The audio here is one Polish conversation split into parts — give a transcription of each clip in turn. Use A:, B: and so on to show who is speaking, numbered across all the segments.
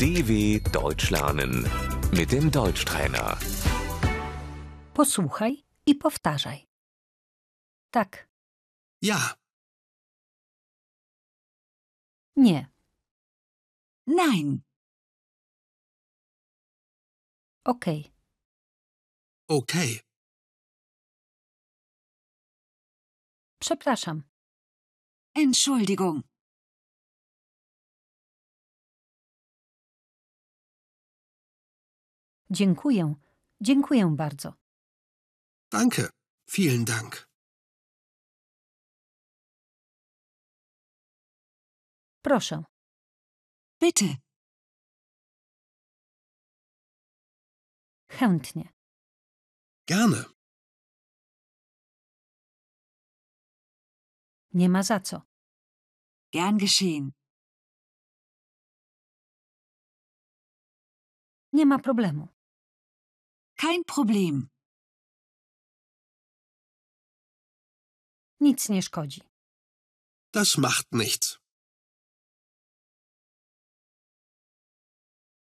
A: DW Deutsch lernen mit dem Deutschtrainer.
B: Posłuchaj i powtarzaj. Tak,
C: Ja,
B: nie,
D: Nein,
B: okej,
C: okay,
B: przepraszam,
D: Entschuldigung,
B: dziękuję, dziękuję bardzo.
C: danke, vielen Dank.
B: Proszę,
D: bitte,
B: chętnie,
C: Gerne,
B: nie ma za co.
D: gern geschehen,
B: Nie ma problemu.
D: kein Problem,
B: Nic nie szkodzi.
C: das macht nichts.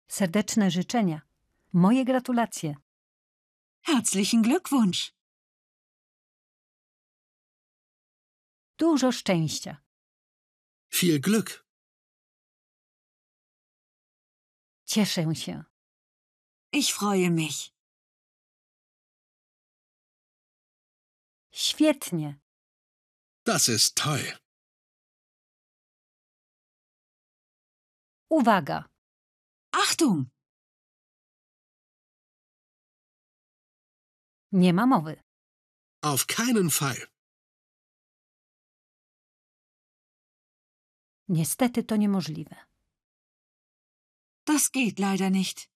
B: Serdeczne życzenia. Moje gratulacje.
D: herzlichen Glückwunsch,
B: Dużo szczęścia.
C: Viel Glück,
B: Cieszę się.
D: ich freue mich,
B: Świetnie.
C: das ist toll.
B: Uwaga.
D: Achtung,
B: Nie ma mowy.
C: Auf keinen Fall.
B: Niestety to niemożliwe.
D: das geht leider nicht.